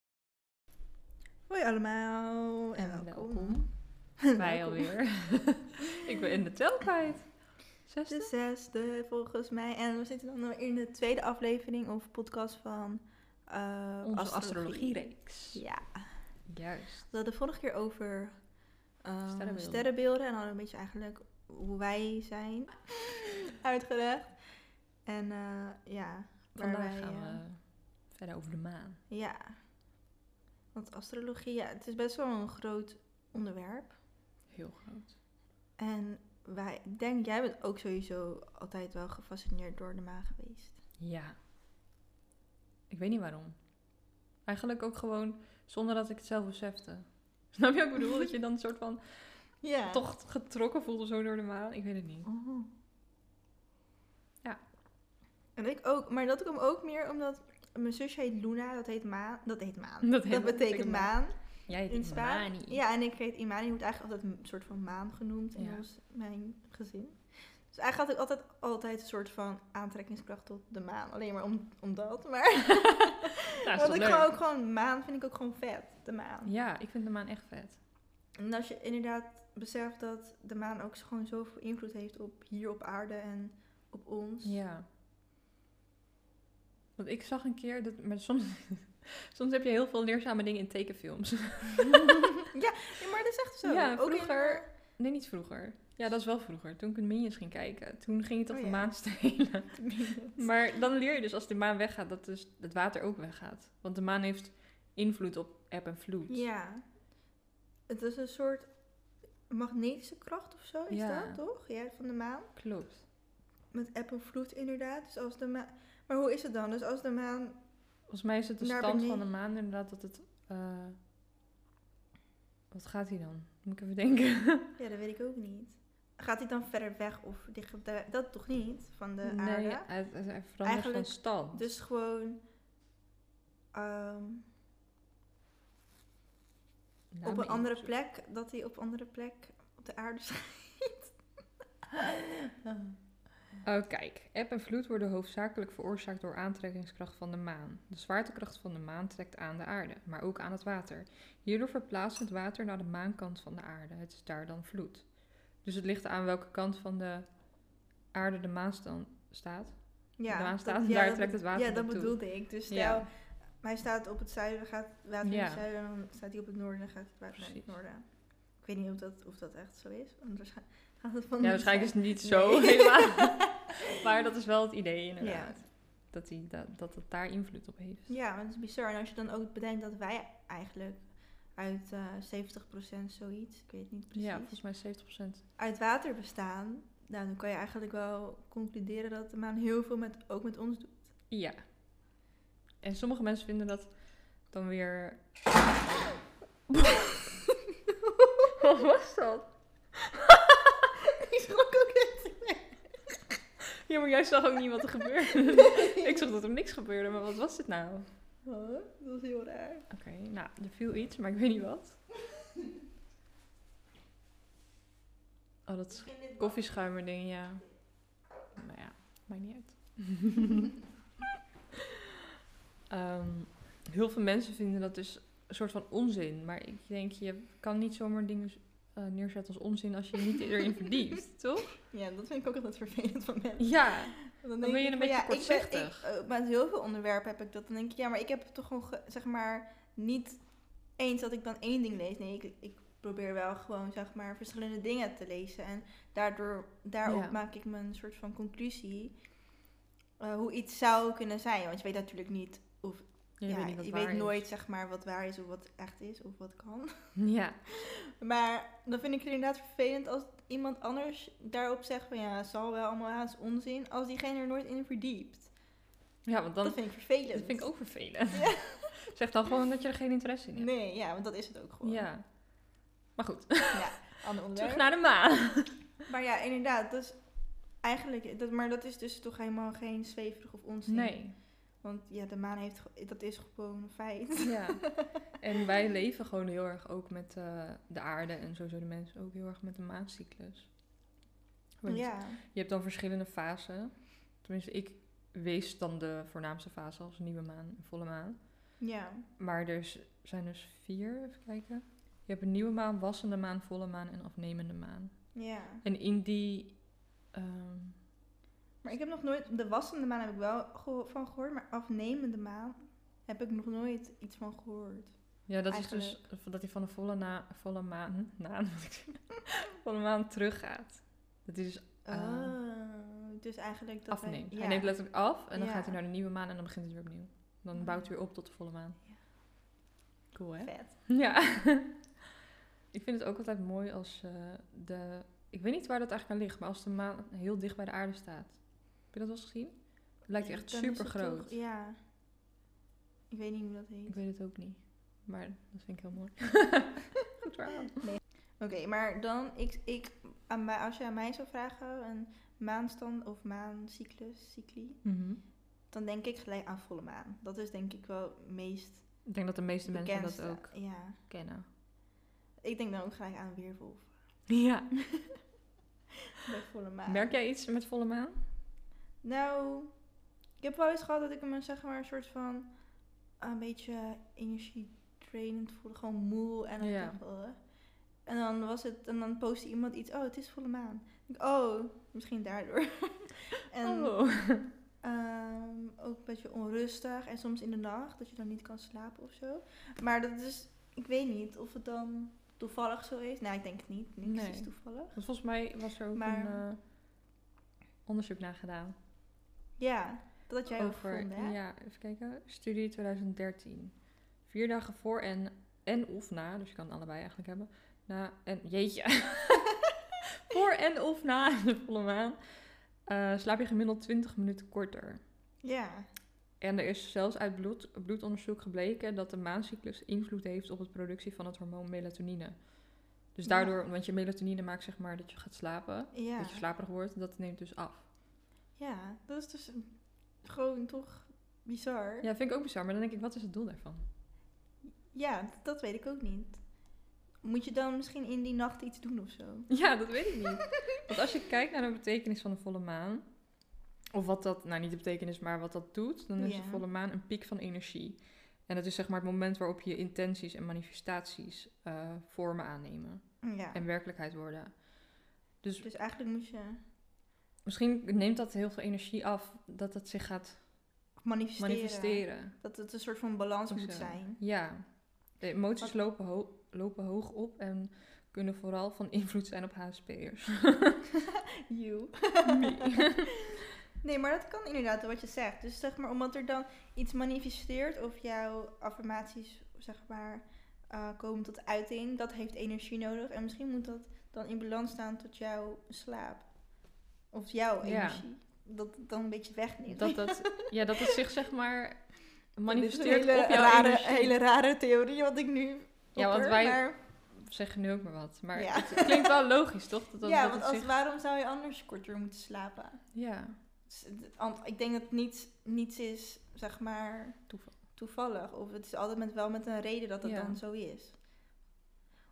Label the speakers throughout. Speaker 1: Ik ben in de tel kwijt. Zesde?
Speaker 2: De zesde, volgens mij. En we zitten dan nou in de tweede aflevering of podcast van eh
Speaker 1: Onze
Speaker 2: astrologie.
Speaker 1: astrologiereeks.
Speaker 2: Ja,
Speaker 1: Juist.
Speaker 2: we hadden vorige keer over ehm,
Speaker 1: Sterrenbeelden.
Speaker 2: sterrenbeelden. en hadden een beetje eigenlijk hoe wij zijn uitgelegd. En eh, ja, waar
Speaker 1: Vandaag
Speaker 2: wij,
Speaker 1: gaan
Speaker 2: eh,
Speaker 1: we verder over de maan.
Speaker 2: Ja. Want astrologie, ja, het is best wel een groot onderwerp.
Speaker 1: Heel groot.
Speaker 2: En wij, ik denk, jij bent ook sowieso altijd wel gefascineerd door de maan geweest.
Speaker 1: Ja. Ik weet niet waarom. Eigenlijk ook gewoon zonder dat ik het zelf besefte. Snap je wat ik bedoel? Dat je dan een soort van
Speaker 2: Ja.
Speaker 1: toch getrokken voelt of zo door de maan. Ik weet het niet.
Speaker 2: Oh.
Speaker 1: Ja.
Speaker 2: En ik ook, maar dat komt ook meer omdat mijn zusje heet Luna, dat heet maan. Dat heet maan.
Speaker 1: Dat heet-
Speaker 2: betekent maan.
Speaker 1: Jij heet
Speaker 2: In Spaan.
Speaker 1: Imani.
Speaker 2: Ja, en ik heet Imani, wordt eigenlijk altijd een soort van maan genoemd in
Speaker 1: Ja.
Speaker 2: ons, mijn gezin. Dus eigenlijk had ik altijd, altijd een soort van aantrekkingskracht tot de maan. Alleen maar om, om dat. Maar
Speaker 1: Ja, is
Speaker 2: want
Speaker 1: toch
Speaker 2: ik
Speaker 1: leuk?
Speaker 2: gewoon ook gewoon maan vind ik ook gewoon vet, de maan.
Speaker 1: Ja, ik vind de maan echt vet.
Speaker 2: En als je inderdaad beseft dat de maan ook gewoon zoveel invloed heeft op hier op aarde en op ons.
Speaker 1: Ja. Want ik zag een keer dat. Maar soms, soms heb je heel veel leerzame dingen in tekenfilms.
Speaker 2: Ja, maar dat is echt zo.
Speaker 1: Ja,
Speaker 2: Ook in-
Speaker 1: vroeger- Nee, niet vroeger. Ja, dat is wel vroeger. Toen ik een Minions ging kijken, toen ging je toch
Speaker 2: Oh
Speaker 1: de
Speaker 2: ja.
Speaker 1: maan stelen. Maar dan leer je dus als de maan weggaat, dat dus het water ook weggaat. Want de maan heeft invloed op eb en vloed.
Speaker 2: Ja. Het is een soort magnetische kracht of zo, is
Speaker 1: Ja.
Speaker 2: dat toch? Ja, van de maan.
Speaker 1: Klopt.
Speaker 2: Met eb en vloed inderdaad. Dus als de maan... Maar hoe is het dan? Dus als de maan...
Speaker 1: Volgens mij is het de
Speaker 2: Naar
Speaker 1: stand van de
Speaker 2: beneden.
Speaker 1: maan inderdaad dat het... eh, Wat gaat hij dan? Moet ik even denken.
Speaker 2: Ja, dat weet ik ook niet. Gaat hij dan verder weg of dichter... Dat toch niet? Van de
Speaker 1: nee,
Speaker 2: aarde?
Speaker 1: hij, hij verandert van
Speaker 2: Eigenlijk
Speaker 1: stand.
Speaker 2: Dus gewoon... ehm,
Speaker 1: Laat
Speaker 2: op
Speaker 1: me
Speaker 2: een andere
Speaker 1: even
Speaker 2: plek. Dat hij op een andere plek op de aarde staat.
Speaker 1: zoeken. Oh, kijk. Eb en vloed worden hoofdzakelijk veroorzaakt door aantrekkingskracht van de maan. De zwaartekracht van de maan trekt aan de aarde, maar ook aan het water. Hierdoor verplaatst het water naar de maankant van de aarde. Het is daar dan vloed. Dus het ligt aan welke kant van de aarde de maan stan- staat.
Speaker 2: Ja,
Speaker 1: De maan
Speaker 2: dat-
Speaker 1: staat en daar
Speaker 2: dat
Speaker 1: trekt
Speaker 2: be-
Speaker 1: het water
Speaker 2: Ja, dat
Speaker 1: naartoe.
Speaker 2: bedoelde ik. Dus stel,
Speaker 1: ja,
Speaker 2: Hij staat op het zuiden, gaat het water naar
Speaker 1: Ja.
Speaker 2: het zuiden, en dan staat hij op het noorden, dan gaat het water naar
Speaker 1: Precies.
Speaker 2: het noorden. Ik weet niet of dat, of dat echt zo is, want waarschijnlijk gaat het van.
Speaker 1: ja,
Speaker 2: het
Speaker 1: waarschijnlijk is
Speaker 2: zuiden-
Speaker 1: het
Speaker 2: Nee.
Speaker 1: niet zo helemaal. maar dat is wel het idee inderdaad.
Speaker 2: Ja.
Speaker 1: Dat, die, dat, dat het daar invloed op heeft.
Speaker 2: Ja, maar dat is bizar. En als je dan ook bedenkt dat wij eigenlijk uit eh 70% zoiets, ik weet het niet precies,
Speaker 1: Ja, volgens mij 70%.
Speaker 2: uit water bestaan, nou, dan kan je eigenlijk wel concluderen dat de maan heel veel met, ook met ons doet.
Speaker 1: Ja. En sommige mensen vinden dat dan weer. Wat was dat?
Speaker 2: Ik schrok ook echt.
Speaker 1: Ja, maar jij zag ook niet wat er gebeurde. Ik zag dat er niks gebeurde, maar wat was dit nou? Oké,
Speaker 2: Oh, dat was heel raar.
Speaker 1: nou, er viel iets, maar ik weet niet wat. Oh, dat is koffieschuimerding, ja. Nou ja, maakt niet uit. Ehm, heel veel mensen vinden dat dus een soort van onzin. Maar ik denk, je kan niet zomaar dingen eh, neerzetten als onzin als je je niet erin verdiept, toch?
Speaker 2: Ja, dat vind ik ook altijd vervelend van mensen.
Speaker 1: Ja,
Speaker 2: Dan,
Speaker 1: ben
Speaker 2: denk
Speaker 1: je een
Speaker 2: ik van,
Speaker 1: beetje
Speaker 2: ik ben- ik-
Speaker 1: kortzichtig.
Speaker 2: eh, met heel veel onderwerpen heb ik dat. Dan denk ik, ja, maar ik heb het toch gewoon, ge- zeg maar, niet eens dat ik dan één ding lees. Nee, ik, ik probeer wel gewoon, zeg maar, verschillende dingen te lezen. En daardoor, daarop
Speaker 1: Ja.
Speaker 2: maak ik mijn soort van conclusie. eh, hoe iets zou kunnen zijn. Want je weet natuurlijk niet,
Speaker 1: je
Speaker 2: ja,
Speaker 1: weet niet wat
Speaker 2: je
Speaker 1: waar
Speaker 2: weet
Speaker 1: is.
Speaker 2: nooit, zeg maar, wat waar is of wat echt is of wat kan.
Speaker 1: Ja,
Speaker 2: Maar dan vind ik het inderdaad vervelend als iemand anders daarop zegt van, ja, het zal wel allemaal haast onzin. Als diegene er nooit in verdiept.
Speaker 1: ja want dan
Speaker 2: dat vind ik vervelend.
Speaker 1: Dat vind ik ook vervelend. Zeg dan gewoon dat je er geen interesse in hebt.
Speaker 2: Nee, ja, want dat is het ook gewoon.
Speaker 1: Ja. Maar goed,
Speaker 2: Ander
Speaker 1: terug
Speaker 2: onderwerp.
Speaker 1: naar de maan.
Speaker 2: Maar ja, inderdaad, dus eigenlijk, dat, maar dat is dus toch helemaal geen zweverig of onzin.
Speaker 1: Nee.
Speaker 2: Want ja, de maan heeft, ge- dat is gewoon een feit.
Speaker 1: Ja. En wij leven gewoon heel erg ook met eh, de aarde en sowieso de mensen ook heel erg met de maancyclus. Want
Speaker 2: Ja,
Speaker 1: Je hebt dan verschillende fasen. Tenminste, ik wees dan de voornaamste fase als nieuwe maan en volle maan.
Speaker 2: ja.
Speaker 1: Maar er is- zijn dus vier, even kijken. Je hebt een nieuwe maan, wassende maan, volle maan en afnemende maan.
Speaker 2: Ja.
Speaker 1: En in die. ehm,
Speaker 2: Maar ik heb nog nooit, de wassende maan heb ik wel geho- van gehoord, maar afnemende maan heb ik nog nooit iets van gehoord.
Speaker 1: ja, dat is dus dat hij van een volle, na, volle maan. Na, moet ik zeggen, volle maan teruggaat. Dat hij dus Ah.
Speaker 2: Oh, dus eigenlijk dat
Speaker 1: afneemt.
Speaker 2: Hij,
Speaker 1: Hij neemt letterlijk af en dan
Speaker 2: Ja.
Speaker 1: gaat hij naar de nieuwe maan en dan begint het weer opnieuw. Dan bouwt hij weer op tot de volle maan.
Speaker 2: Ja.
Speaker 1: Cool, hè?
Speaker 2: Vet.
Speaker 1: Ja. ik vind het ook altijd mooi als eh, de... Ik weet niet waar dat eigenlijk aan ligt, maar als de maan heel dicht bij de aarde staat. Heb je dat wel eens gezien? Het lijkt echt
Speaker 2: Dan is het
Speaker 1: super groot.
Speaker 2: toch- Ja. Ik weet niet hoe dat heet.
Speaker 1: Ik weet het ook niet. Maar dat vind ik heel mooi. Goed verhaal.
Speaker 2: Oké, maar dan, ik, ik, aan mij, als je aan mij zou vragen een maanstand of maancyclus, cycli,
Speaker 1: Mhm.
Speaker 2: dan denk ik gelijk aan volle maan. Dat is denk ik wel het meest
Speaker 1: Ik denk dat de meeste mensen
Speaker 2: bekendste.
Speaker 1: dat ook
Speaker 2: Ja.
Speaker 1: kennen.
Speaker 2: Ik denk dan ook gelijk aan weerwolf
Speaker 1: Ja.
Speaker 2: bij volle maan.
Speaker 1: Merk jij iets met volle maan?
Speaker 2: Nou, ik heb wel eens gehad dat ik me zeg maar een soort van een beetje energiedrainend voelde, gewoon moe en dan
Speaker 1: Ja.
Speaker 2: dacht ik, "Ugh." en dan was het en dan postte iemand iets, oh het is volle maan. Ik, oh, misschien daardoor. en
Speaker 1: oh.
Speaker 2: ehm, ook een beetje onrustig en soms in de nacht dat je dan niet kan slapen of zo. Maar dat is, ik weet niet of het dan toevallig zo is. Nou, ik denk het niet. Niks
Speaker 1: Nee.
Speaker 2: is toevallig.
Speaker 1: Want volgens mij was er ook
Speaker 2: Maar-
Speaker 1: een eh, onderzoek naar gedaan.
Speaker 2: Ja, dat had jij ook gevonden, hè?
Speaker 1: ja, even kijken. Studie 2013. Vier dagen voor en, en of na, dus je kan allebei eigenlijk hebben. Na en jeetje. voor en of na de volle maan eh, slaap je gemiddeld 20 minuten korter.
Speaker 2: Ja.
Speaker 1: En er is zelfs uit bloed, bloedonderzoek gebleken dat de maancyclus invloed heeft op de productie van het hormoon melatonine. Dus
Speaker 2: Ja.
Speaker 1: daardoor, want je melatonine maakt zeg maar dat je gaat slapen,
Speaker 2: ja.
Speaker 1: dat je slaperig wordt, dat neemt dus af.
Speaker 2: Ja, dat is dus een- gewoon toch bizar. Ja.
Speaker 1: Ja, vind ik ook bizar, maar dan denk ik, wat is het doel daarvan?
Speaker 2: d- dat weet ik ook niet. Moet je dan misschien in die nacht iets doen of zo?
Speaker 1: Ja, dat weet ik niet. Want als je kijkt naar de betekenis van de volle maan, of wat dat, nou niet de betekenis, maar wat dat doet, dan is
Speaker 2: Ja.
Speaker 1: de volle maan een piek van energie. En dat is zeg maar het moment waarop je intenties en manifestaties eh, vormen aannemen
Speaker 2: Ja.
Speaker 1: en werkelijkheid worden. Dus
Speaker 2: Dus eigenlijk moet je
Speaker 1: misschien neemt dat heel veel energie af dat het zich gaat
Speaker 2: manifesteren.
Speaker 1: manifesteren.
Speaker 2: Dat het een soort van balans
Speaker 1: Of
Speaker 2: moet
Speaker 1: zo.
Speaker 2: zijn.
Speaker 1: Ja, de emoties
Speaker 2: Wat-
Speaker 1: lopen, ho- lopen hoog op en kunnen vooral van invloed zijn op HSP'ers.
Speaker 2: You.
Speaker 1: Me.
Speaker 2: Nee, maar dat kan inderdaad wat je zegt. Dus zeg maar, omdat er dan iets manifesteert of jouw affirmaties, zeg maar, eh, komen tot uiting, dat heeft energie nodig. En misschien moet dat dan in balans staan tot jouw slaap. Of jouw
Speaker 1: Ja.
Speaker 2: energie. Dat het dan een beetje wegneemt.
Speaker 1: dat dat, ja, dat het zich zeg maar
Speaker 2: Dit
Speaker 1: manifesteert
Speaker 2: is een hele
Speaker 1: op jouw
Speaker 2: rare,
Speaker 1: energie.
Speaker 2: hele rare theorie wat ik nu
Speaker 1: Ja, want
Speaker 2: opper,
Speaker 1: wij-
Speaker 2: maar-
Speaker 1: Zeggen nu ook maar wat. Maar
Speaker 2: Ja.
Speaker 1: het klinkt wel logisch, toch? Dat, dat,
Speaker 2: ja,
Speaker 1: dat
Speaker 2: want
Speaker 1: het
Speaker 2: als,
Speaker 1: zich-
Speaker 2: waarom zou je anders korter moeten slapen?
Speaker 1: Ja,
Speaker 2: Dus het- want ik denk dat niets, niets is, zeg maar,
Speaker 1: Toeval.
Speaker 2: toevallig. Of het is altijd met, wel met een reden dat het
Speaker 1: Ja.
Speaker 2: dan zo is.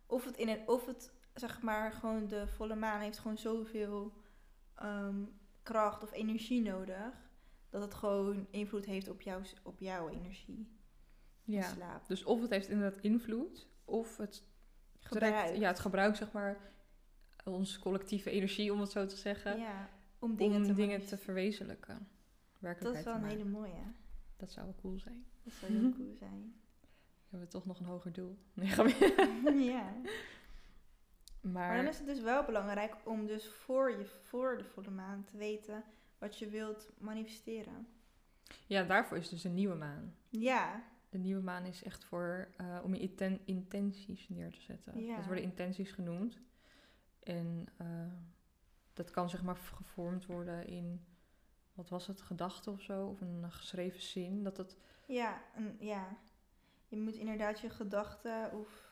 Speaker 2: Of het, in een, of het, zeg maar, gewoon de volle maan heeft gewoon zoveel ehm, kracht of energie nodig. Dat het gewoon invloed heeft op, jouw op jouw energie. Ja.
Speaker 1: ja.
Speaker 2: Slaap.
Speaker 1: Dus of het heeft inderdaad invloed, of het
Speaker 2: Gebruik.
Speaker 1: trekt... Ja, het gebruikt zeg maar onze collectieve energie, om het zo te zeggen,
Speaker 2: Ja, om
Speaker 1: om
Speaker 2: dingen, te,
Speaker 1: dingen te
Speaker 2: manifesteren.
Speaker 1: verwezenlijken.
Speaker 2: Dat is
Speaker 1: Werkelijkheid
Speaker 2: wel
Speaker 1: te
Speaker 2: een
Speaker 1: maken.
Speaker 2: hele mooie.
Speaker 1: Dat zou wel cool zijn.
Speaker 2: Dat zou heel cool zijn.
Speaker 1: We hebben toch nog een hoger doel. Nee, grapje.
Speaker 2: ja. Maar dan
Speaker 1: maar
Speaker 2: is het dus wel belangrijk om dus voor, je, voor de volle maan te weten wat je wilt manifesteren.
Speaker 1: ja, daarvoor is dus een nieuwe maan.
Speaker 2: Ja,
Speaker 1: De nieuwe maan is echt voor eh, om je inten- intenties neer te zetten.
Speaker 2: Ja.
Speaker 1: Dat worden intenties genoemd. En eh, dat kan zeg maar gevormd worden in, wat was het, gedachten of zo? Of een geschreven zin. Dat dat,
Speaker 2: ja, en, ja. Je moet inderdaad je gedachten of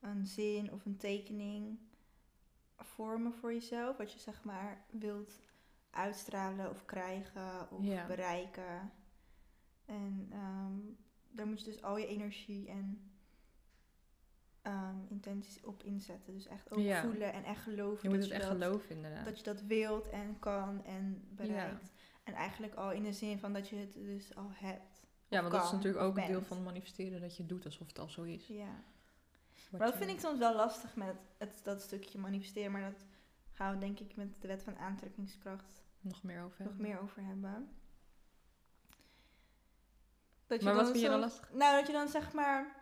Speaker 2: een zin of een tekening vormen voor jezelf. Wat je zeg maar wilt uitstralen of krijgen of
Speaker 1: Ja.
Speaker 2: bereiken. En ehm, daar moet je dus al je energie en ehm, intenties op inzetten. Dus echt ook
Speaker 1: Ja.
Speaker 2: voelen en echt geloven.
Speaker 1: je moet
Speaker 2: dat
Speaker 1: het echt
Speaker 2: dat-
Speaker 1: geloven inderdaad.
Speaker 2: dat je dat wilt en kan en bereikt. En eigenlijk al in de zin van dat je het dus al hebt.
Speaker 1: ja, want dat is
Speaker 2: kan,
Speaker 1: natuurlijk
Speaker 2: of
Speaker 1: ook een deel
Speaker 2: bent.
Speaker 1: van manifesteren. Dat je doet alsof het al zo is.
Speaker 2: Ja. Maar
Speaker 1: Wat
Speaker 2: dat
Speaker 1: je-
Speaker 2: vind ik soms wel lastig met het, dat stukje manifesteren. Maar dat gaan we denk ik met de wet van aantrekkingskracht
Speaker 1: nog meer over
Speaker 2: nog
Speaker 1: hebben.
Speaker 2: meer over hebben. Dat
Speaker 1: Maar wat
Speaker 2: dan
Speaker 1: vind je dan
Speaker 2: soms-
Speaker 1: lastig?
Speaker 2: Nou, dat je dan zeg maar...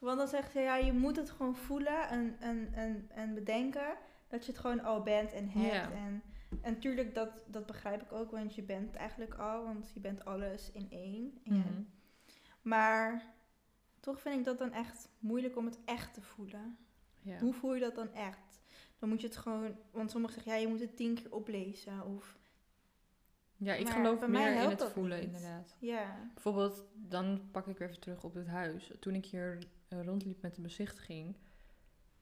Speaker 2: Want dan zegt ze, ja, je moet het gewoon voelen en, en, en, en bedenken dat je het gewoon al bent en hebt.
Speaker 1: Ja.
Speaker 2: En, en tuurlijk, dat, dat begrijp ik ook, want je bent eigenlijk al, want je bent alles in één. En-
Speaker 1: Mhm.
Speaker 2: Maar toch vind ik dat dan echt moeilijk om het echt te voelen.
Speaker 1: Ja.
Speaker 2: Hoe voel je dat dan echt? Dan moet je het gewoon, want sommigen zeggen, ja, je moet het tien keer oplezen. Of
Speaker 1: ja, ik
Speaker 2: maar
Speaker 1: geloof
Speaker 2: bij mij
Speaker 1: meer in
Speaker 2: helpt
Speaker 1: het
Speaker 2: dat
Speaker 1: voelen,
Speaker 2: niet.
Speaker 1: inderdaad.
Speaker 2: ja,
Speaker 1: Bijvoorbeeld, dan pak ik weer even terug op het huis. Toen ik hier eh, rondliep met de bezichtiging,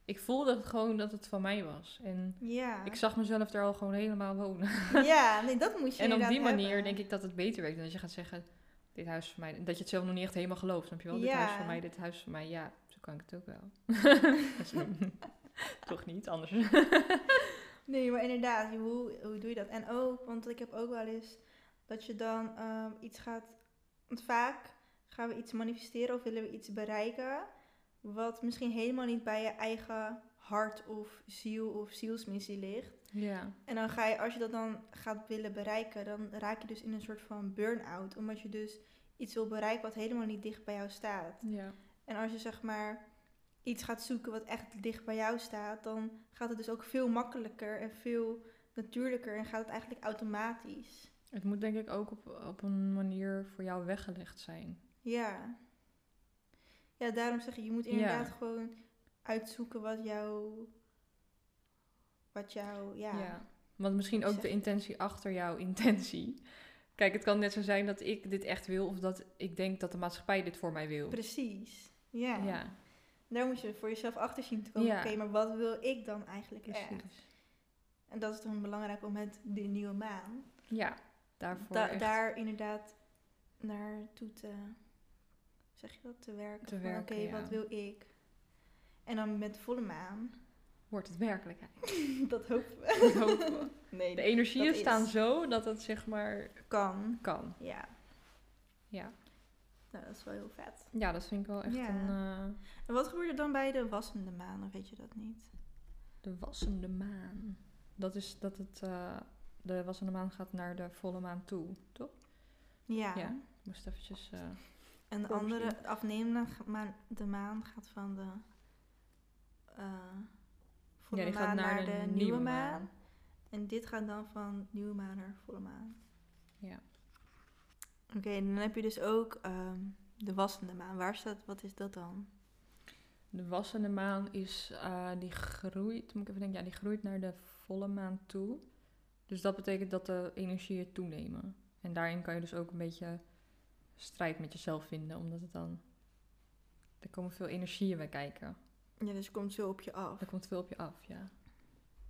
Speaker 1: ik voelde het gewoon dat het van mij was. En
Speaker 2: ja.
Speaker 1: ik zag mezelf daar al gewoon helemaal wonen.
Speaker 2: Ja, nee, dat moet je
Speaker 1: En op
Speaker 2: inderdaad
Speaker 1: die manier
Speaker 2: hebben.
Speaker 1: denk ik dat het beter werkt. Dan dat je gaat zeggen, dit huis is voor mij. Dat je het zelf nog niet echt helemaal gelooft, snap je wel? Dit
Speaker 2: Ja.
Speaker 1: huis is voor mij, dit huis is voor mij. Ja, zo kan ik het ook wel. Zo. Toch niet, anders.
Speaker 2: Nee, maar inderdaad, hoe, hoe doe je dat? En ook, want ik heb ook wel eens dat je dan ehm, iets gaat. Want vaak gaan we iets manifesteren of willen we iets bereiken. Wat misschien helemaal niet bij je eigen hart of ziel of zielsmissie ligt.
Speaker 1: ja.
Speaker 2: En dan ga je, als je dat dan gaat willen bereiken, dan raak je dus in een soort van burn-out. Omdat je dus iets wil bereiken wat helemaal niet dicht bij jou staat.
Speaker 1: ja.
Speaker 2: En als je zeg maar iets gaat zoeken wat echt dicht bij jou staat, dan gaat het dus ook veel makkelijker en veel natuurlijker en gaat het eigenlijk automatisch.
Speaker 1: Het moet denk ik ook op, op een manier voor jou weggelegd zijn.
Speaker 2: Ja. Ja, daarom zeg ik, je moet
Speaker 1: Ja.
Speaker 2: inderdaad gewoon uitzoeken wat jou. Wat jou, ja.
Speaker 1: Ja. Want misschien
Speaker 2: Hoe
Speaker 1: ook
Speaker 2: zeg
Speaker 1: de
Speaker 2: je
Speaker 1: intentie achter jouw intentie. Kijk, het kan net zo zijn dat ik dit echt wil of dat ik denk dat de maatschappij dit voor mij wil.
Speaker 2: Precies. Ja.
Speaker 1: Ja,
Speaker 2: Daar moet je voor jezelf achter zien te komen.
Speaker 1: Ja.
Speaker 2: Oké, maar wat wil ik dan eigenlijk echt?
Speaker 1: precies.
Speaker 2: En dat is dan belangrijk om met de nieuwe maan.
Speaker 1: Ja, daarvoor
Speaker 2: Da-
Speaker 1: echt
Speaker 2: Daar inderdaad naartoe te, zeg je dat, te werken.
Speaker 1: Te
Speaker 2: van,
Speaker 1: werken,
Speaker 2: Oké,
Speaker 1: ja.
Speaker 2: wat wil ik? En dan met volle maan.
Speaker 1: wordt het werkelijkheid.
Speaker 2: dat hopen we.
Speaker 1: Dat hopen we.
Speaker 2: Nee,
Speaker 1: De energieën
Speaker 2: Dat is-
Speaker 1: staan zo dat het zeg maar
Speaker 2: kan.
Speaker 1: kan.
Speaker 2: Ja,
Speaker 1: Ja,
Speaker 2: nou, dat is wel heel vet.
Speaker 1: ja dat vind ik wel echt
Speaker 2: Ja.
Speaker 1: een... eh,
Speaker 2: En wat gebeurt er dan bij de wassende maan? Of weet je dat niet?
Speaker 1: de wassende maan. Dat is dat het... eh, de wassende maan gaat naar de volle maan toe, toch?
Speaker 2: Ja.
Speaker 1: Ja. Ik moest eventjes... eh,
Speaker 2: En de
Speaker 1: Klopt,
Speaker 2: andere, de afnemende g- maan, de maan gaat van de eh, volle
Speaker 1: Ja, die gaat
Speaker 2: maan naar,
Speaker 1: naar
Speaker 2: de,
Speaker 1: de
Speaker 2: nieuwe,
Speaker 1: nieuwe
Speaker 2: maan.
Speaker 1: maan.
Speaker 2: En dit gaat dan van nieuwe maan naar volle maan.
Speaker 1: Ja.
Speaker 2: Oké, en dan heb je dus ook ehm, de wassende maan. Waar staat, wat is dat dan?
Speaker 1: De wassende maan is, eh, die groeit, moet ik even denken, ja, die groeit naar de volle maan toe. Dus dat betekent dat de energieën toenemen. En daarin kan je dus ook een beetje strijd met jezelf vinden, omdat het dan, er komen veel energieën bij kijken.
Speaker 2: Ja, dus komt zo op je af.
Speaker 1: Er komt veel op je af, ja.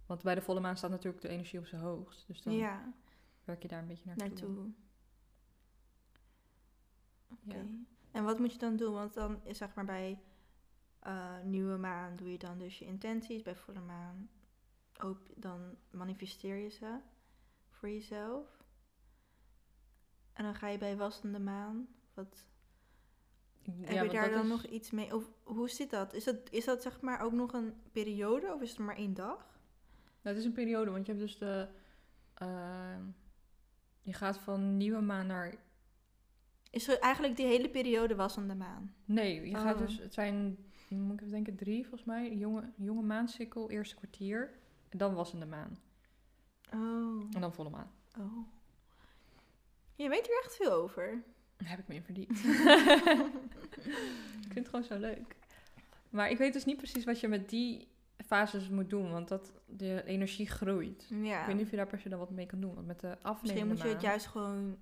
Speaker 1: Want bij de volle maan staat natuurlijk de energie op zijn hoogst, dus dan
Speaker 2: Ja,
Speaker 1: werk je daar een beetje naartoe.
Speaker 2: naartoe.
Speaker 1: Ja.
Speaker 2: Oké. En wat moet je dan doen? Want dan is zeg maar bij eh, nieuwe maan doe je dan dus je intenties. Bij volle maan ook dan manifesteer je ze voor jezelf. En dan ga je bij wassende maan. Wat,
Speaker 1: Ik- ja,
Speaker 2: heb je
Speaker 1: want
Speaker 2: daar
Speaker 1: dat
Speaker 2: dan
Speaker 1: is-
Speaker 2: nog iets mee? Of hoe zit dat? Is, dat? is dat zeg maar ook nog een periode of is het maar één dag?
Speaker 1: Nou, het is een periode, want je hebt dus de. ehm, je gaat van nieuwe maan naar.
Speaker 2: Is er eigenlijk die hele periode wassende maan?
Speaker 1: Nee, je gaat
Speaker 2: Oh.
Speaker 1: dus. Het zijn, moet ik even denken, drie volgens mij. Jonge, jonge maansikkel, eerste kwartier. En dan wassende maan.
Speaker 2: Oh.
Speaker 1: En dan volle maan.
Speaker 2: oh. Je weet er echt veel over.
Speaker 1: Daar heb ik me in verdiend. ik vind het gewoon zo leuk. Maar ik weet dus niet precies wat je met die fases moet doen, want dat de energie groeit.
Speaker 2: Ja.
Speaker 1: Ik weet niet of je daar per se dan wat mee kan doen, want met de afnemende
Speaker 2: Misschien moet je het
Speaker 1: maan-
Speaker 2: juist gewoon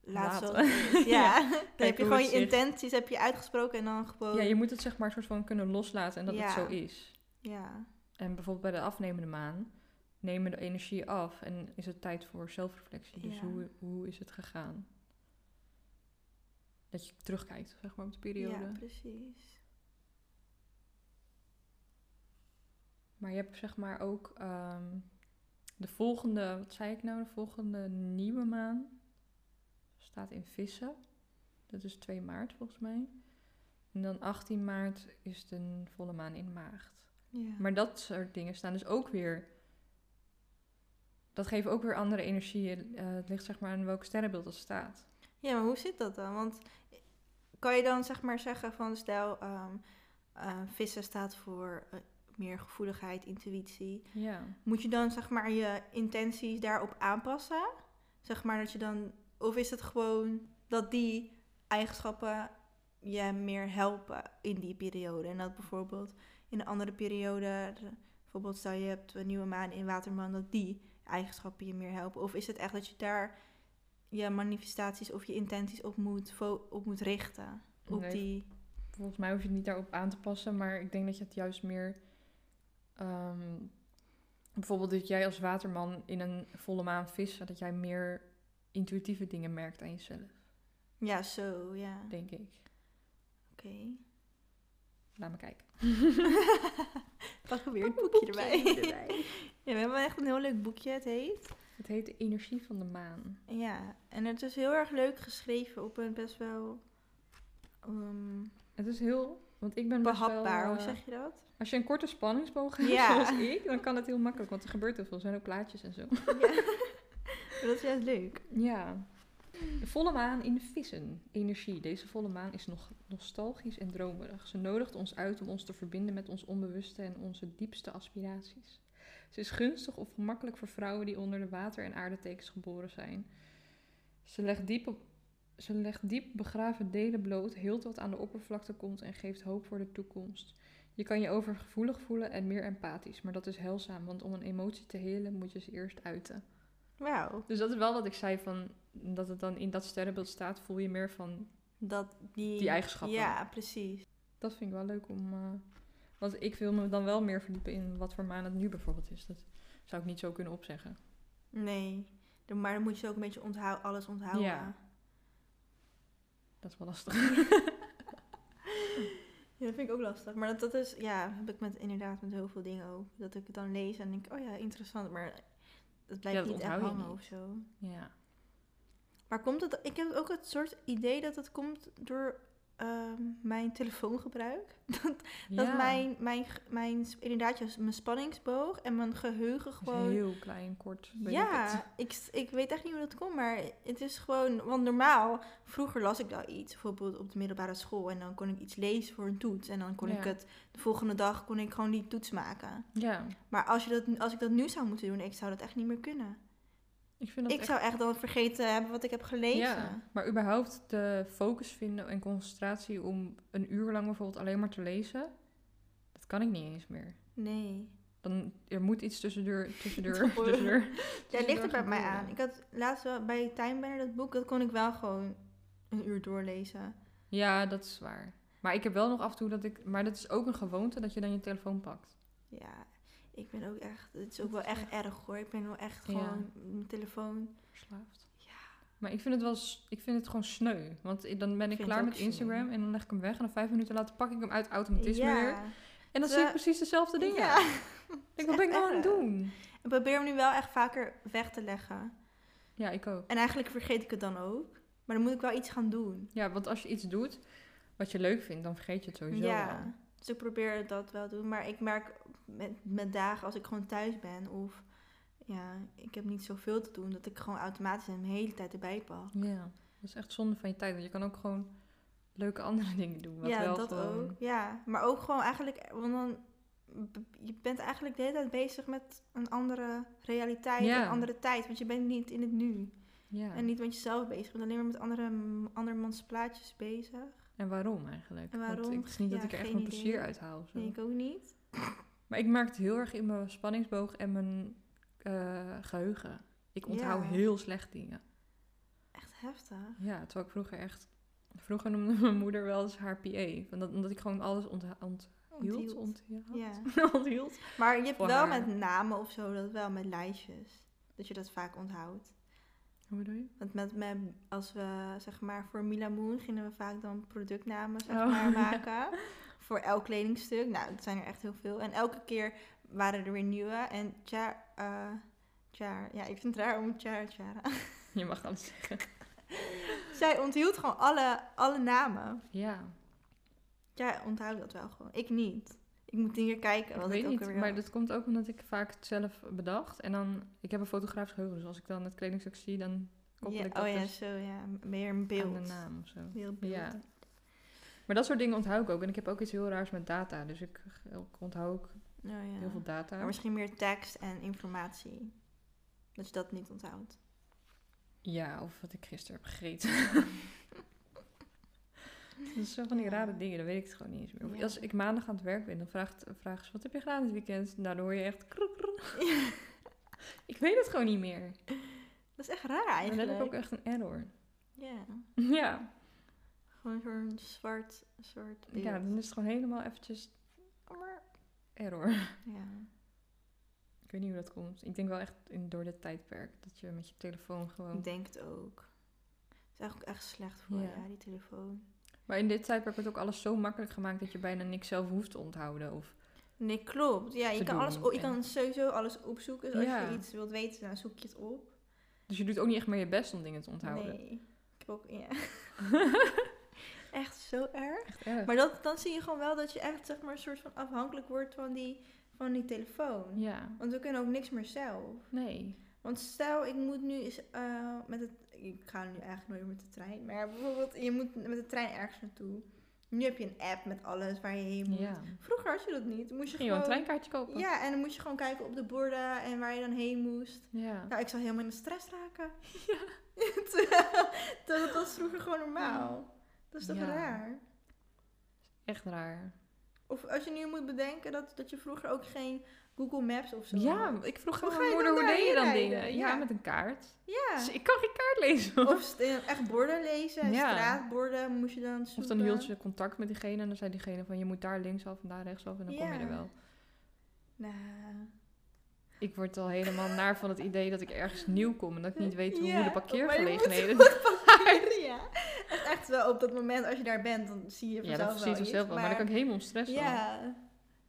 Speaker 2: laten.
Speaker 1: Laten.
Speaker 2: zoals het is. Ja, dan heb je
Speaker 1: hoe
Speaker 2: gewoon
Speaker 1: het
Speaker 2: je
Speaker 1: zich-
Speaker 2: intenties heb je uitgesproken en dan gewoon.
Speaker 1: Ja, je moet het zeg maar soort van kunnen loslaten en dat
Speaker 2: Ja.
Speaker 1: het zo is.
Speaker 2: Ja.
Speaker 1: En bijvoorbeeld bij de afnemende maan nemen de energie af en is het tijd voor zelfreflectie. Dus
Speaker 2: Ja.
Speaker 1: hoe, hoe is het gegaan? Dat je terugkijkt, zeg maar, op de periode.
Speaker 2: Ja, precies.
Speaker 1: maar je hebt zeg maar ook ehm, de volgende, wat zei ik nou, de volgende nieuwe maan staat in vissen. Dat is 2 maart volgens mij. En dan 18 maart is de volle maan in maagd.
Speaker 2: Ja.
Speaker 1: Maar dat soort dingen staan dus ook weer dat geeft ook weer andere energieën. Eh, het ligt zeg maar aan welk sterrenbeeld dat staat.
Speaker 2: Ja, maar hoe zit dat dan? Want kan je dan zeg maar zeggen van stel, ehm, eh, vissen staat voor eh, meer gevoeligheid, intuïtie.
Speaker 1: Ja.
Speaker 2: Moet je dan zeg maar je intenties daarop aanpassen? Zeg maar dat je dan, of is het gewoon dat die eigenschappen je meer helpen in die periode? En dat bijvoorbeeld in een andere periode, de- bijvoorbeeld stel je hebt een nieuwe maan in Waterman, dat die eigenschappen je meer helpen? Of is het echt dat je daar je manifestaties of je intenties op moet, fo- op moet richten? Op
Speaker 1: Nee,
Speaker 2: die...
Speaker 1: Volgens mij hoef je het niet daarop aan te passen, maar ik denk dat je het juist meer. ehm, bijvoorbeeld dat jij als waterman in een volle maan vissen, dat jij meer intuïtieve dingen merkt aan jezelf,
Speaker 2: Ja, zo, ja. Oké.
Speaker 1: denk ik. Laat me kijken.
Speaker 2: Pak weer het boekje erbij.
Speaker 1: erbij.
Speaker 2: Ja, we hebben echt een heel leuk boekje, het heet.
Speaker 1: Het heet de energie van de maan.
Speaker 2: Ja, en het is heel erg leuk geschreven op een best wel ehm,
Speaker 1: Het is heel, want ik ben best wel,
Speaker 2: behapbaar, hoe
Speaker 1: eh,
Speaker 2: zeg je dat?
Speaker 1: Als je een korte spanningsboog hebt,
Speaker 2: Ja.
Speaker 1: zoals ik, dan kan het heel makkelijk, want er gebeurt heel veel. Er zijn ook plaatjes en zo.
Speaker 2: Maar Dat is juist leuk.
Speaker 1: Ja. De volle maan in de vissen. Energie. Deze volle maan is nog nostalgisch en dromerig. Ze nodigt ons uit om ons te verbinden met ons onbewuste en onze diepste aspiraties. Ze is gunstig of gemakkelijk voor vrouwen die onder de water- en aardetekens geboren zijn. Ze legt diep, op- ze legt diep begraven delen bloot, heelt wat aan de oppervlakte komt en geeft hoop voor de toekomst. Je kan je overgevoelig voelen en meer empathisch, maar dat is heilzaam, want om een emotie te helen moet je ze eerst uiten.
Speaker 2: Wauw.
Speaker 1: Dus dat is wel wat ik zei van dat het dan in dat sterrenbeeld staat, voel je meer van
Speaker 2: Dat die...
Speaker 1: die eigenschappen.
Speaker 2: Ja, precies.
Speaker 1: Dat vind ik wel leuk om. eh, want ik wil me dan wel meer verdiepen in wat voor maan het nu bijvoorbeeld is. Dat zou ik niet zo kunnen opzeggen.
Speaker 2: Nee. De- Maar dan moet je ze ook een beetje onthou alles onthouden.
Speaker 1: Ja. Dat is wel lastig.
Speaker 2: Ja, dat vind ik ook lastig. Maar dat, dat is, ja, heb ik met, inderdaad met heel veel dingen ook. Dat ik het dan lees en denk, oh ja, interessant. Maar het blijft
Speaker 1: dat
Speaker 2: niet echt
Speaker 1: onthoud je
Speaker 2: hangen
Speaker 1: niet.
Speaker 2: of zo.
Speaker 1: Ja.
Speaker 2: Maar komt het, ik heb ook het soort idee dat het komt door ehm, mijn telefoongebruik. Dat
Speaker 1: Ja.
Speaker 2: mijn, mijn, g- mijn, sp- inderdaad, juist mijn spanningsboog en mijn geheugen
Speaker 1: Dat is
Speaker 2: gewoon...
Speaker 1: heel klein, kort. weet ik het.
Speaker 2: ja, ik, s- ik weet echt niet hoe dat komt, maar het is gewoon... Want normaal, vroeger las ik wel iets, bijvoorbeeld op de middelbare school. En dan kon ik iets lezen voor een toets. En dan kon ik
Speaker 1: Ja.
Speaker 2: het, de volgende dag kon ik gewoon die toets maken.
Speaker 1: Ja.
Speaker 2: Maar als, je dat, als ik dat nu zou moeten doen, ik zou dat echt niet meer kunnen.
Speaker 1: Ik vind dat
Speaker 2: ik
Speaker 1: echt.
Speaker 2: zou echt dan vergeten hebben wat ik heb gelezen.
Speaker 1: Ja, maar überhaupt de focus vinden en concentratie om een uur lang bijvoorbeeld alleen maar te lezen, dat kan ik niet eens meer.
Speaker 2: Nee.
Speaker 1: Dan, er moet iets tussendoor, tussendoor,
Speaker 2: Tussendoor.
Speaker 1: tussendoor.
Speaker 2: Ja,
Speaker 1: Dus
Speaker 2: ligt er
Speaker 1: daar
Speaker 2: bij mij
Speaker 1: gebeuren.
Speaker 2: aan. Ik had laatst wel bij Timebender dat boek, dat kon ik wel gewoon een uur doorlezen.
Speaker 1: Ja, dat is waar. Maar ik heb wel nog af en toe dat ik... Maar dat is ook een gewoonte dat je dan je telefoon pakt.
Speaker 2: Ja, ik ben ook echt, het is ook wel echt erg hoor. Ik ben wel echt
Speaker 1: Ja.
Speaker 2: gewoon mijn telefoon.
Speaker 1: Verslaafd. Ja. Maar ik vind het wel... s- Ik vind het gewoon sneu. Want i- dan ben ik
Speaker 2: vind
Speaker 1: klaar
Speaker 2: het ook
Speaker 1: met Instagram
Speaker 2: sneu.
Speaker 1: en dan leg ik hem weg. En dan vijf minuten later pak ik hem uit automatisme weer.
Speaker 2: ja.
Speaker 1: En dan
Speaker 2: Ze-
Speaker 1: zie ik precies dezelfde dingen.
Speaker 2: Ja.
Speaker 1: Ik, wat ben ik nou aan het
Speaker 2: erg.
Speaker 1: doen?
Speaker 2: Ik probeer hem nu wel echt vaker weg te leggen.
Speaker 1: Ja, ik ook.
Speaker 2: En eigenlijk vergeet ik het dan ook. Maar dan moet ik wel iets gaan doen.
Speaker 1: Ja, want als je iets doet wat je leuk vindt, dan vergeet je het sowieso
Speaker 2: ja.
Speaker 1: wel.
Speaker 2: Dus ik probeer dat wel te doen. Maar ik merk met, met dagen als ik gewoon thuis ben of ja, ik heb niet zoveel te doen, dat ik gewoon automatisch hem de hele tijd erbij pak.
Speaker 1: Ja. Dat is echt zonde van je tijd. Want je kan ook gewoon leuke andere dingen doen. Wat
Speaker 2: Ja,
Speaker 1: wel
Speaker 2: dat
Speaker 1: gewoon...
Speaker 2: ook. Ja, maar ook gewoon eigenlijk, want dan b- je bent eigenlijk de hele tijd bezig met een andere realiteit,
Speaker 1: Ja.
Speaker 2: een andere tijd, want je bent niet in het nu
Speaker 1: Ja.
Speaker 2: en niet met jezelf bezig, je bent alleen maar met andere andermans plaatjes bezig.
Speaker 1: En waarom eigenlijk?
Speaker 2: En
Speaker 1: Want
Speaker 2: waarom?
Speaker 1: ik- het is niet dat
Speaker 2: Ja,
Speaker 1: ik er echt
Speaker 2: geen
Speaker 1: mijn plezier
Speaker 2: idee.
Speaker 1: uit haal. of zo.
Speaker 2: Nee, ik ook niet.
Speaker 1: Maar ik merk het heel erg in mijn spanningsboog en mijn eh, geheugen. Ik onthoud
Speaker 2: Ja.
Speaker 1: heel slecht dingen.
Speaker 2: Echt heftig.
Speaker 1: Ja, terwijl ik vroeger echt... Vroeger noemde mijn moeder wel eens haar PA. want dat- omdat ik gewoon alles ontha- onthield.
Speaker 2: Onthield.
Speaker 1: Onthield.
Speaker 2: Ja.
Speaker 1: onthield.
Speaker 2: Maar je hebt
Speaker 1: Voor
Speaker 2: wel
Speaker 1: haar.
Speaker 2: met namen of zo, dat wel met lijstjes, dat je dat vaak onthoudt.
Speaker 1: Hoe bedoel je?
Speaker 2: Want met, met, als we zeg maar voor Mila Moon gingen we vaak dan productnamen zeg
Speaker 1: Oh,
Speaker 2: maar,
Speaker 1: ja.
Speaker 2: maken. Voor elk kledingstuk. Nou, het zijn er echt heel veel. En elke keer waren er weer nieuwe. En tja, eh, tja, ja, ik vind het raar om tja, tja.
Speaker 1: Je mag alles zeggen.
Speaker 2: Zij onthield gewoon alle, alle namen.
Speaker 1: Ja.
Speaker 2: Jij onthoudt dat wel gewoon. Ik niet. Ik moet een keer kijken
Speaker 1: Ik
Speaker 2: wat
Speaker 1: weet
Speaker 2: ik ook
Speaker 1: niet,
Speaker 2: alweer
Speaker 1: maar
Speaker 2: had.
Speaker 1: dat komt ook omdat ik vaak het zelf bedacht. En dan, ik heb een fotografisch geheugen, dus als ik dan het kledingstuk zie, dan koppel
Speaker 2: Ja,
Speaker 1: ik dat
Speaker 2: Oh ja,
Speaker 1: dus
Speaker 2: zo ja. Meer een
Speaker 1: aan
Speaker 2: beeld.
Speaker 1: de naam of zo.
Speaker 2: Meer beeld.
Speaker 1: Ja. Maar dat soort dingen onthoud ik ook. En ik heb ook iets heel raars met data, dus ik, ik onthoud ook
Speaker 2: Oh ja.
Speaker 1: heel veel data.
Speaker 2: Maar misschien meer tekst en informatie. Dat je dat niet onthoudt.
Speaker 1: Ja, of wat ik gisteren heb gegeten. dat is zo van die
Speaker 2: Ja.
Speaker 1: rare dingen, dan weet ik het gewoon niet eens meer. Of
Speaker 2: Ja.
Speaker 1: Als ik maandag aan het werk ben, dan vraagt, vragen ze, wat heb je gedaan dit weekend? Nou, dan hoor je echt... kroek, kroek. ik weet het gewoon niet meer.
Speaker 2: Dat is echt raar eigenlijk.
Speaker 1: Dan heb ik ook echt een error.
Speaker 2: Ja.
Speaker 1: ja.
Speaker 2: Gewoon zo'n zwart soort beeld.
Speaker 1: ja, dan is het gewoon helemaal eventjes error.
Speaker 2: Ja.
Speaker 1: Ik weet niet hoe dat komt. Ik denk wel echt in, door dit tijdperk, dat je met je telefoon gewoon...
Speaker 2: Ik denk het ook. Het is eigenlijk echt slecht voor
Speaker 1: Oh. Ja.
Speaker 2: ja, die telefoon.
Speaker 1: Maar in dit tijdperk wordt ook alles zo makkelijk gemaakt dat je bijna niks zelf hoeft te onthouden. Of...
Speaker 2: Nee, klopt. Ja, je
Speaker 1: Te
Speaker 2: kan,
Speaker 1: doen,
Speaker 2: alles, o- je
Speaker 1: ja.
Speaker 2: kan sowieso alles opzoeken. Dus als
Speaker 1: Ja.
Speaker 2: je iets wilt weten, dan zoek je het op.
Speaker 1: Dus je doet ook niet echt meer je best om dingen te onthouden.
Speaker 2: Nee. Ik heb ook... Ja. echt zo erg.
Speaker 1: Echt erg.
Speaker 2: Maar dat, dan zie je gewoon wel dat je echt zeg maar, een soort van afhankelijk wordt van die, van die telefoon.
Speaker 1: Ja,
Speaker 2: Want we kunnen ook niks meer zelf.
Speaker 1: nee.
Speaker 2: Want stel, ik moet nu eens eh, met het. Ik ga nu eigenlijk nooit met de trein. Maar bijvoorbeeld, je moet met de trein ergens naartoe. Nu heb je een app met alles waar je heen moet.
Speaker 1: Ja.
Speaker 2: Vroeger had je dat niet. Dan Moest je
Speaker 1: Ging je wel
Speaker 2: gewoon.
Speaker 1: een treinkaartje kopen?
Speaker 2: ja, en dan moest je gewoon kijken op de borden en waar je dan heen moest.
Speaker 1: Ja.
Speaker 2: Nou, ik zou helemaal in de stress raken. Ja. Terwijl terwijl dat was vroeger gewoon normaal. Dat is toch
Speaker 1: Ja.
Speaker 2: raar?
Speaker 1: Echt raar.
Speaker 2: Of als je nu moet bedenken dat, dat je vroeger ook geen Google Maps of zo
Speaker 1: Ja,
Speaker 2: had.
Speaker 1: ik vroeg
Speaker 2: Hoe
Speaker 1: aan
Speaker 2: ga
Speaker 1: mijn
Speaker 2: je
Speaker 1: moeder,
Speaker 2: dan
Speaker 1: hoe deed je dan
Speaker 2: daarheen
Speaker 1: dingen?
Speaker 2: rijden?
Speaker 1: Ja,
Speaker 2: Ja.
Speaker 1: met een kaart.
Speaker 2: Ja.
Speaker 1: Dus ik kan geen kaart lezen.
Speaker 2: Of st- eh, echt borden lezen, en
Speaker 1: Ja.
Speaker 2: straatborden moest je dan zoeken.
Speaker 1: Of dan hield je contact met diegene en dan zei diegene van je moet daar linksaf en daar rechtsaf en dan kom je
Speaker 2: Ja.
Speaker 1: er wel.
Speaker 2: Nou,
Speaker 1: Ik word al helemaal naar van het idee dat ik ergens nieuw kom en dat ik niet weet hoe
Speaker 2: Ja,
Speaker 1: de
Speaker 2: maar je moet
Speaker 1: parkeergelegenheden...
Speaker 2: ja. Het is echt wel op dat moment, als je daar bent, dan zie je
Speaker 1: Ja,
Speaker 2: vanzelf wel
Speaker 1: dat precies
Speaker 2: iets,
Speaker 1: vanzelf wel, maar dan kan ik helemaal om stress van.
Speaker 2: Ja.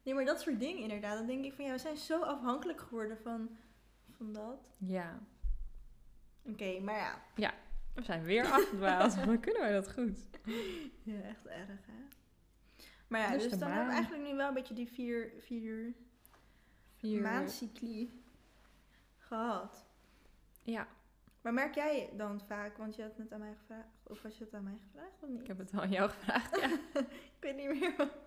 Speaker 2: Nee, maar dat soort dingen inderdaad. Dan denk ik van, ja, we zijn zo afhankelijk geworden van, van dat.
Speaker 1: Ja.
Speaker 2: Oké, maar ja.
Speaker 1: We zijn weer afgedwaald. Wat kunnen wij dat goed?
Speaker 2: ja. Echt erg, hè? Maar ja,
Speaker 1: Dus
Speaker 2: dus,
Speaker 1: de
Speaker 2: dan hebben we
Speaker 1: maan.
Speaker 2: eigenlijk nu wel een beetje die vier, vier,
Speaker 1: Vier...
Speaker 2: maandcycli gehad.
Speaker 1: Ja,
Speaker 2: Maar merk jij dan vaak, want je had het net aan mij gevraagd, of was je het aan mij gevraagd of niet?
Speaker 1: ik heb het al aan jou gevraagd. Ja,
Speaker 2: Ik weet niet meer wat-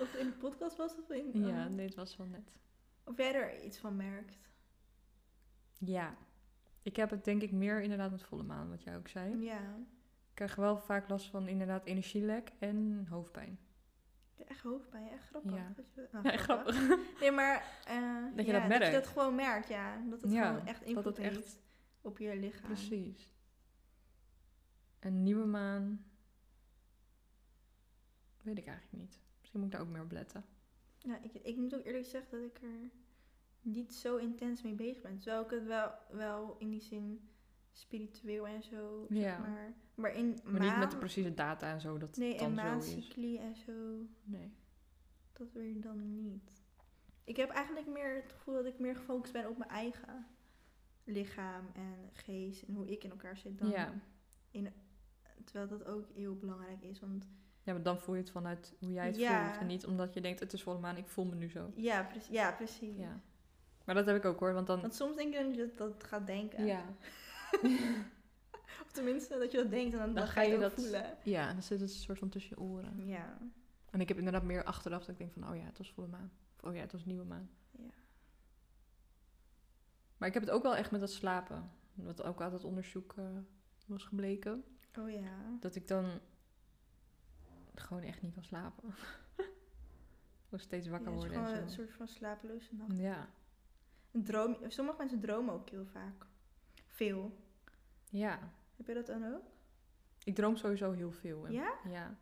Speaker 2: of het in de podcast was of in... eh,
Speaker 1: ja nee, het was wel net.
Speaker 2: Of jij er iets van merkt.
Speaker 1: Ja. Ik heb het denk ik meer inderdaad met volle maan, wat jij ook zei.
Speaker 2: Ja.
Speaker 1: Ik krijg wel vaak last van inderdaad energielek en hoofdpijn.
Speaker 2: Ik heb Echt hoofdpijn, echt grappig.
Speaker 1: Ja.
Speaker 2: Dat je, nou,
Speaker 1: Ja, grappig.
Speaker 2: Nee, maar eh,
Speaker 1: Dat je
Speaker 2: ja,
Speaker 1: dat
Speaker 2: Dat
Speaker 1: merkt.
Speaker 2: je dat gewoon merkt, ja. Dat het
Speaker 1: Ja,
Speaker 2: gewoon echt invloed
Speaker 1: Dat het
Speaker 2: heeft
Speaker 1: echt...
Speaker 2: op je lichaam.
Speaker 1: Precies. Een nieuwe maan... Weet ik eigenlijk niet. Misschien moet ik daar ook meer op letten.
Speaker 2: Ja, ik, ik moet ook eerlijk zeggen dat ik er niet zo intens mee bezig ben. Terwijl ik het wel, wel in die zin spiritueel en zo,
Speaker 1: Ja.
Speaker 2: zeg maar. Maar in
Speaker 1: Maar niet met de
Speaker 2: maan-
Speaker 1: precieze data en zo, dat het
Speaker 2: Nee, en
Speaker 1: dan zo is.
Speaker 2: maancycli en zo.
Speaker 1: Nee.
Speaker 2: Dat weer dan niet. Ik heb eigenlijk meer het gevoel dat ik meer gefocust ben op mijn eigen lichaam en geest en hoe ik in elkaar zit dan.
Speaker 1: Ja.
Speaker 2: Terwijl dat ook heel belangrijk is. Want
Speaker 1: ja, maar dan voel je het vanuit hoe jij het
Speaker 2: Ja.
Speaker 1: voelt. En niet omdat je denkt, het is volle maan, ik voel me nu zo.
Speaker 2: ja, precies. Ja, precies.
Speaker 1: Ja. Maar dat heb ik ook hoor, want dan...
Speaker 2: Want soms denk je dat je dat, dat gaat denken.
Speaker 1: Ja.
Speaker 2: Of tenminste dat je dat denkt en dan, dan
Speaker 1: ga
Speaker 2: ga je,
Speaker 1: je
Speaker 2: dat
Speaker 1: dat-
Speaker 2: voelen.
Speaker 1: Ja, en dan zit het een soort van tussen je oren.
Speaker 2: Ja.
Speaker 1: En ik heb inderdaad meer achteraf dat ik denk van, oh ja, het was volle maan. Of oh ja, het was nieuwe maan.
Speaker 2: Ja.
Speaker 1: Maar ik heb het ook wel echt met dat slapen. Wat ook uit het onderzoek eh, was gebleken.
Speaker 2: Oh ja.
Speaker 1: Dat ik dan gewoon echt niet kan slapen. Of steeds
Speaker 2: Ja,
Speaker 1: wakker
Speaker 2: het is
Speaker 1: worden
Speaker 2: gewoon
Speaker 1: en
Speaker 2: een
Speaker 1: zo.
Speaker 2: soort van slapeloze nacht.
Speaker 1: Ja.
Speaker 2: Een droom, sommige mensen dromen ook heel vaak. Veel.
Speaker 1: ja,
Speaker 2: Heb je dat dan ook?
Speaker 1: ik droom sowieso heel veel. En-
Speaker 2: Ja?
Speaker 1: Ja,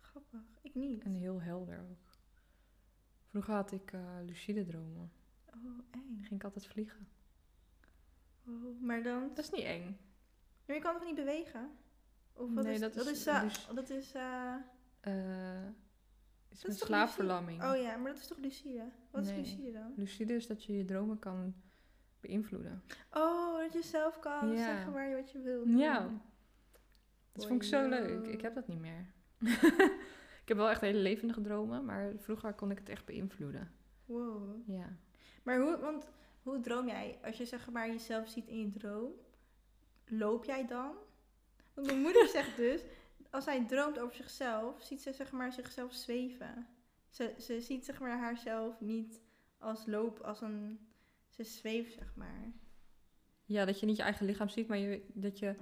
Speaker 2: Grappig. Ik niet.
Speaker 1: en heel helder ook. Vroeger had ik eh, lucide dromen.
Speaker 2: Oh,
Speaker 1: Dan
Speaker 2: eng.
Speaker 1: ging ik altijd vliegen.
Speaker 2: Oh, maar dan...
Speaker 1: Dat is niet eng.
Speaker 2: Maar je kan toch niet bewegen? Of wat
Speaker 1: Nee,
Speaker 2: is,
Speaker 1: dat is-
Speaker 2: eh,
Speaker 1: dus-
Speaker 2: dat is eh,
Speaker 1: Eh, is
Speaker 2: toch
Speaker 1: met
Speaker 2: lucide?
Speaker 1: slaapverlamming.
Speaker 2: oh ja, maar dat is toch Lucide? Wat
Speaker 1: Nee.
Speaker 2: is Lucide dan?
Speaker 1: Lucide is dat je je dromen kan beïnvloeden.
Speaker 2: Oh, dat je zelf kan
Speaker 1: Ja.
Speaker 2: zeggen waar je wat je wilt.
Speaker 1: Ja. Dat vond ik zo
Speaker 2: Oei,
Speaker 1: leuk.
Speaker 2: joh.
Speaker 1: Ik heb dat niet meer. ik Ik heb wel echt hele levendige dromen, maar vroeger kon ik het echt beïnvloeden.
Speaker 2: Wow.
Speaker 1: Ja.
Speaker 2: Maar hoe, want hoe droom jij? Als je zeg maar jezelf ziet in je droom, loop jij dan? Want mijn moeder zegt dus, als hij droomt over zichzelf, ziet ze zeg maar zichzelf zweven. Ze, ze ziet zeg maar haarzelf niet als loop, als een... Ze zweeft zeg maar.
Speaker 1: Ja, dat je niet je eigen lichaam ziet, maar je, dat je...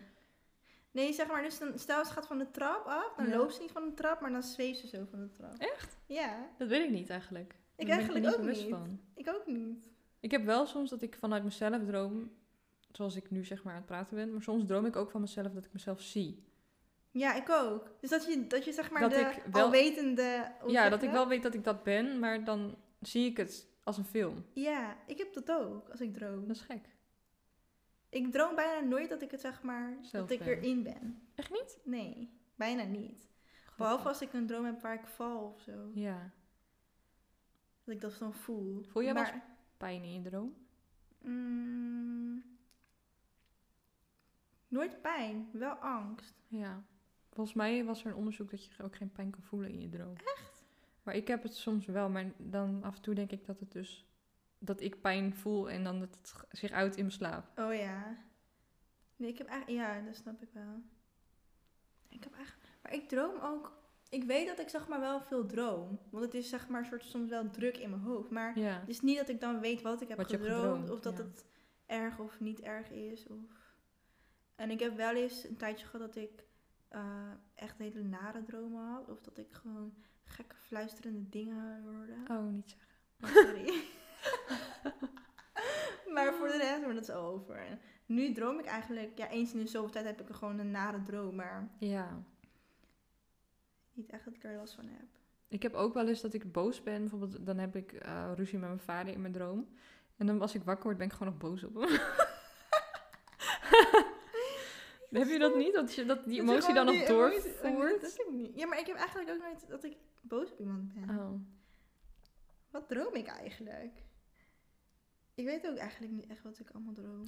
Speaker 2: Nee, zeg maar, dus dan, stel ze gaat van de trap af, dan
Speaker 1: Ja.
Speaker 2: loopt ze niet van de trap, maar dan zweeft ze zo van de trap.
Speaker 1: Echt?
Speaker 2: Ja,
Speaker 1: Dat weet ik niet eigenlijk. Daar ben
Speaker 2: eigenlijk
Speaker 1: me
Speaker 2: ook
Speaker 1: bewust
Speaker 2: niet.
Speaker 1: Van.
Speaker 2: ik ook niet.
Speaker 1: Ik heb wel soms dat ik vanuit mezelf droom, zoals ik nu zeg maar aan het praten ben, maar soms droom ik ook van mezelf dat ik mezelf zie.
Speaker 2: Ja, ik ook. Dus dat je, dat je zeg maar
Speaker 1: Dat
Speaker 2: de
Speaker 1: ik wel-
Speaker 2: alwetende... hoe Oh, zeg
Speaker 1: ja,
Speaker 2: je
Speaker 1: dat ik wel weet dat ik dat ben, maar dan zie ik het als een film.
Speaker 2: Ja, ik heb dat ook als ik droom.
Speaker 1: Dat is gek.
Speaker 2: Ik droom bijna nooit dat ik het zeg maar,
Speaker 1: Zelf
Speaker 2: dat ik
Speaker 1: ben.
Speaker 2: erin ben.
Speaker 1: Echt niet?
Speaker 2: Nee, bijna niet. Behalve als ik een droom heb waar ik val of zo.
Speaker 1: Ja.
Speaker 2: Dat ik dat dan voel.
Speaker 1: Voel jij wel
Speaker 2: maar,
Speaker 1: Pijn in je droom?
Speaker 2: mm, Nooit pijn, wel angst.
Speaker 1: Ja. Volgens mij was er een onderzoek dat je ook geen pijn kan voelen in je droom. Echt? Maar ik heb het soms wel, maar dan af en toe denk ik dat het dus... Dat ik pijn voel en dan dat het g- zich uit in mijn slaap.
Speaker 2: Oh ja. Nee, ik heb eigenlijk... Ja, dat snap ik wel. Ik heb eigenlijk... Maar ik droom ook... Ik weet dat ik zeg maar wel veel droom. Want het is zeg maar soort soms wel druk in mijn hoofd. Maar
Speaker 1: Ja.
Speaker 2: Dus niet dat ik dan weet wat ik heb
Speaker 1: Wat je hebt
Speaker 2: gedroomd,
Speaker 1: gedroomd,
Speaker 2: Of dat
Speaker 1: ja.
Speaker 2: het erg of niet erg is. Of... En ik heb wel eens een tijdje gehad dat ik eh, echt hele nare dromen had. Of dat ik gewoon gekke fluisterende dingen hoorde.
Speaker 1: Oh, niet zeggen.
Speaker 2: Oh, sorry. maar voor
Speaker 1: Ah.
Speaker 2: de rest, maar dat is al over. En nu droom ik eigenlijk, ja eens in de zoveel tijd heb ik gewoon een nare droom. Maar
Speaker 1: Ja.
Speaker 2: niet echt dat ik er last van heb.
Speaker 1: Ik heb ook wel eens dat ik boos ben. Bijvoorbeeld, dan heb ik eh, ruzie met mijn vader in mijn droom. En dan als ik wakker word, ben ik gewoon nog boos op hem. heb je dat niet? Dat, je, dat die
Speaker 2: Dat je
Speaker 1: emotie dan
Speaker 2: gewoon
Speaker 1: nog
Speaker 2: die emotie- oh, nee, dat
Speaker 1: doorvoert?
Speaker 2: heb ik niet. Ja, maar ik heb eigenlijk ook nooit dat ik boos op iemand ben.
Speaker 1: Oh,
Speaker 2: Wat droom ik eigenlijk? Ik weet ook eigenlijk niet echt wat ik allemaal droom.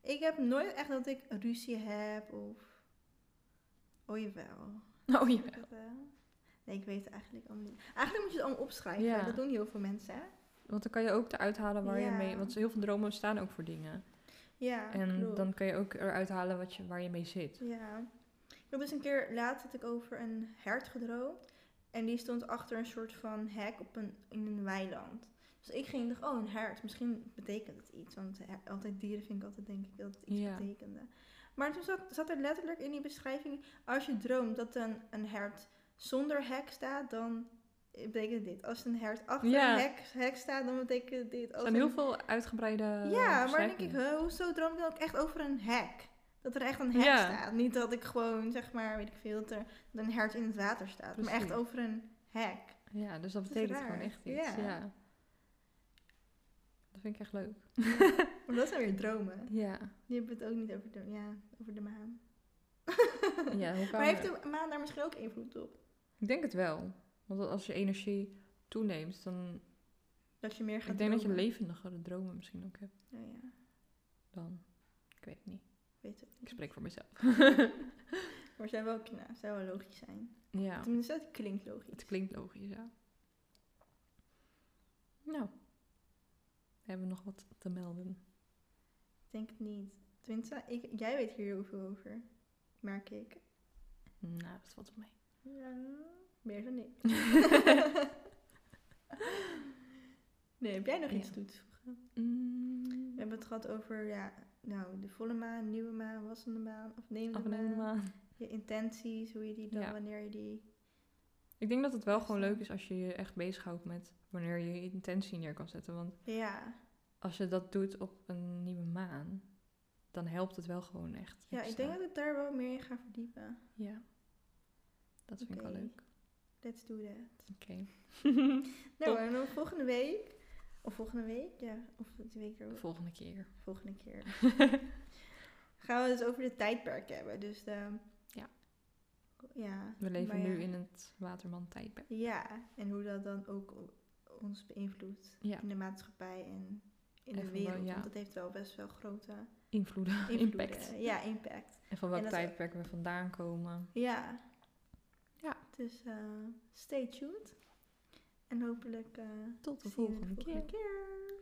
Speaker 2: ik heb nooit echt dat ik ruzie heb of... Oh jawel.
Speaker 1: oh
Speaker 2: Heb
Speaker 1: ja.
Speaker 2: ik dat wel? Nee, ik weet het eigenlijk allemaal niet. Eigenlijk moet je het allemaal opschrijven.
Speaker 1: Ja.
Speaker 2: Dat doen heel veel mensen, hè?
Speaker 1: Want dan kan je ook eruit halen waar je
Speaker 2: Ja.
Speaker 1: mee... Want heel veel dromen staan ook voor dingen.
Speaker 2: Ja,
Speaker 1: en
Speaker 2: klopt.
Speaker 1: dan kan je ook eruit halen wat je, waar je mee zit.
Speaker 2: Ja. Ik heb dus een keer laatst had ik over een hert gedroomd. En die stond achter een soort van hek op een, in een weiland. Dus ik ging dacht, oh, een hert. Misschien betekent het iets. Want her- altijd dieren vind ik altijd denk ik dat het iets
Speaker 1: Ja.
Speaker 2: betekende. Maar toen zat, zat er letterlijk in die beschrijving, als je droomt dat een, een hert zonder hek staat, dan betekent dit. Als een hert achter
Speaker 1: Ja.
Speaker 2: een hek, hek staat, dan betekent dit.
Speaker 1: Er
Speaker 2: Als
Speaker 1: zijn
Speaker 2: een-
Speaker 1: heel veel uitgebreide
Speaker 2: ja, maar denk ik,
Speaker 1: beschrijvingen.
Speaker 2: huh, hoezo droom ik dan ook echt over een hek? Dat er echt een hek
Speaker 1: Ja.
Speaker 2: staat. Niet dat ik gewoon, zeg maar, weet ik veel, dat er dat een hert in het water staat. Maar echt
Speaker 1: Precies.
Speaker 2: over een hek.
Speaker 1: Ja, dus dat
Speaker 2: is
Speaker 1: betekent
Speaker 2: raar.
Speaker 1: gewoon echt
Speaker 2: Ja.
Speaker 1: iets. ja. Dat vind ik echt leuk.
Speaker 2: Maar dat zijn weer dromen.
Speaker 1: Ja.
Speaker 2: Die hebben het ook niet over de, ja, over de maan.
Speaker 1: Ja, hoe kan
Speaker 2: maar heeft
Speaker 1: dat?
Speaker 2: de maan daar misschien ook invloed op?
Speaker 1: Ik denk het wel. Want als je energie toeneemt, dan...
Speaker 2: Dat je meer gaat
Speaker 1: Ik denk dat je
Speaker 2: dromen?
Speaker 1: levendigere dromen misschien ook hebt
Speaker 2: Oh ja,
Speaker 1: dan... Ik weet het niet.
Speaker 2: ik weet het
Speaker 1: Ik
Speaker 2: niet.
Speaker 1: spreek voor mezelf.
Speaker 2: Maar zou wel, nou, zou wel logisch zijn.
Speaker 1: Ja,
Speaker 2: Tenminste, dat klinkt logisch.
Speaker 1: het klinkt logisch, ja. Nou. We hebben nog wat te melden.
Speaker 2: Ik denk het niet. Tenminste, ik, jij weet hier heel veel over. Merk ik.
Speaker 1: Nou, dat valt wel mee.
Speaker 2: Ja,
Speaker 1: Mm,
Speaker 2: meer dan ik. nee, heb jij nog
Speaker 1: Ja.
Speaker 2: iets toe te voegen?
Speaker 1: Mm,
Speaker 2: We hebben het gehad over ja, nou, de volle maan, nieuwe maan, wassende maan, afnemende,
Speaker 1: afnemende
Speaker 2: maan.
Speaker 1: maan.
Speaker 2: Je intenties, hoe je die dan,
Speaker 1: Ja.
Speaker 2: wanneer je die...
Speaker 1: Ik denk dat het wel gewoon leuk is als je je echt bezighoudt met wanneer je je intentie neer kan zetten. Want
Speaker 2: Ja,
Speaker 1: als je dat doet op een nieuwe maan, dan helpt het wel gewoon echt.
Speaker 2: ja ik
Speaker 1: extra.
Speaker 2: denk dat ik daar wel meer in ga verdiepen.
Speaker 1: Ja. Dat vind ik
Speaker 2: Oké.
Speaker 1: wel leuk.
Speaker 2: Let's do that.
Speaker 1: Oké.
Speaker 2: Nou, en dan volgende week... Of volgende week, ja. Of de week erop.
Speaker 1: Volgende keer.
Speaker 2: volgende keer. gaan we het dus over de tijdperk hebben. Dus de...
Speaker 1: Ja.
Speaker 2: Ja.
Speaker 1: We leven
Speaker 2: maar ja.
Speaker 1: nu in het Waterman-tijdperk.
Speaker 2: Ja, en hoe dat dan ook o- ons beïnvloedt
Speaker 1: Ja.
Speaker 2: in de maatschappij en in de
Speaker 1: En van wel,
Speaker 2: wereld.
Speaker 1: ja.
Speaker 2: Want dat heeft wel best wel grote
Speaker 1: Invloeden,
Speaker 2: invloeden.
Speaker 1: impact.
Speaker 2: Ja, impact.
Speaker 1: En van welk
Speaker 2: En dat-
Speaker 1: tijdperk we vandaan komen.
Speaker 2: Ja.
Speaker 1: Ja.
Speaker 2: Dus eh, stay tuned. En hopelijk eh,
Speaker 1: Tot de
Speaker 2: zien we
Speaker 1: volgende keer.
Speaker 2: keer.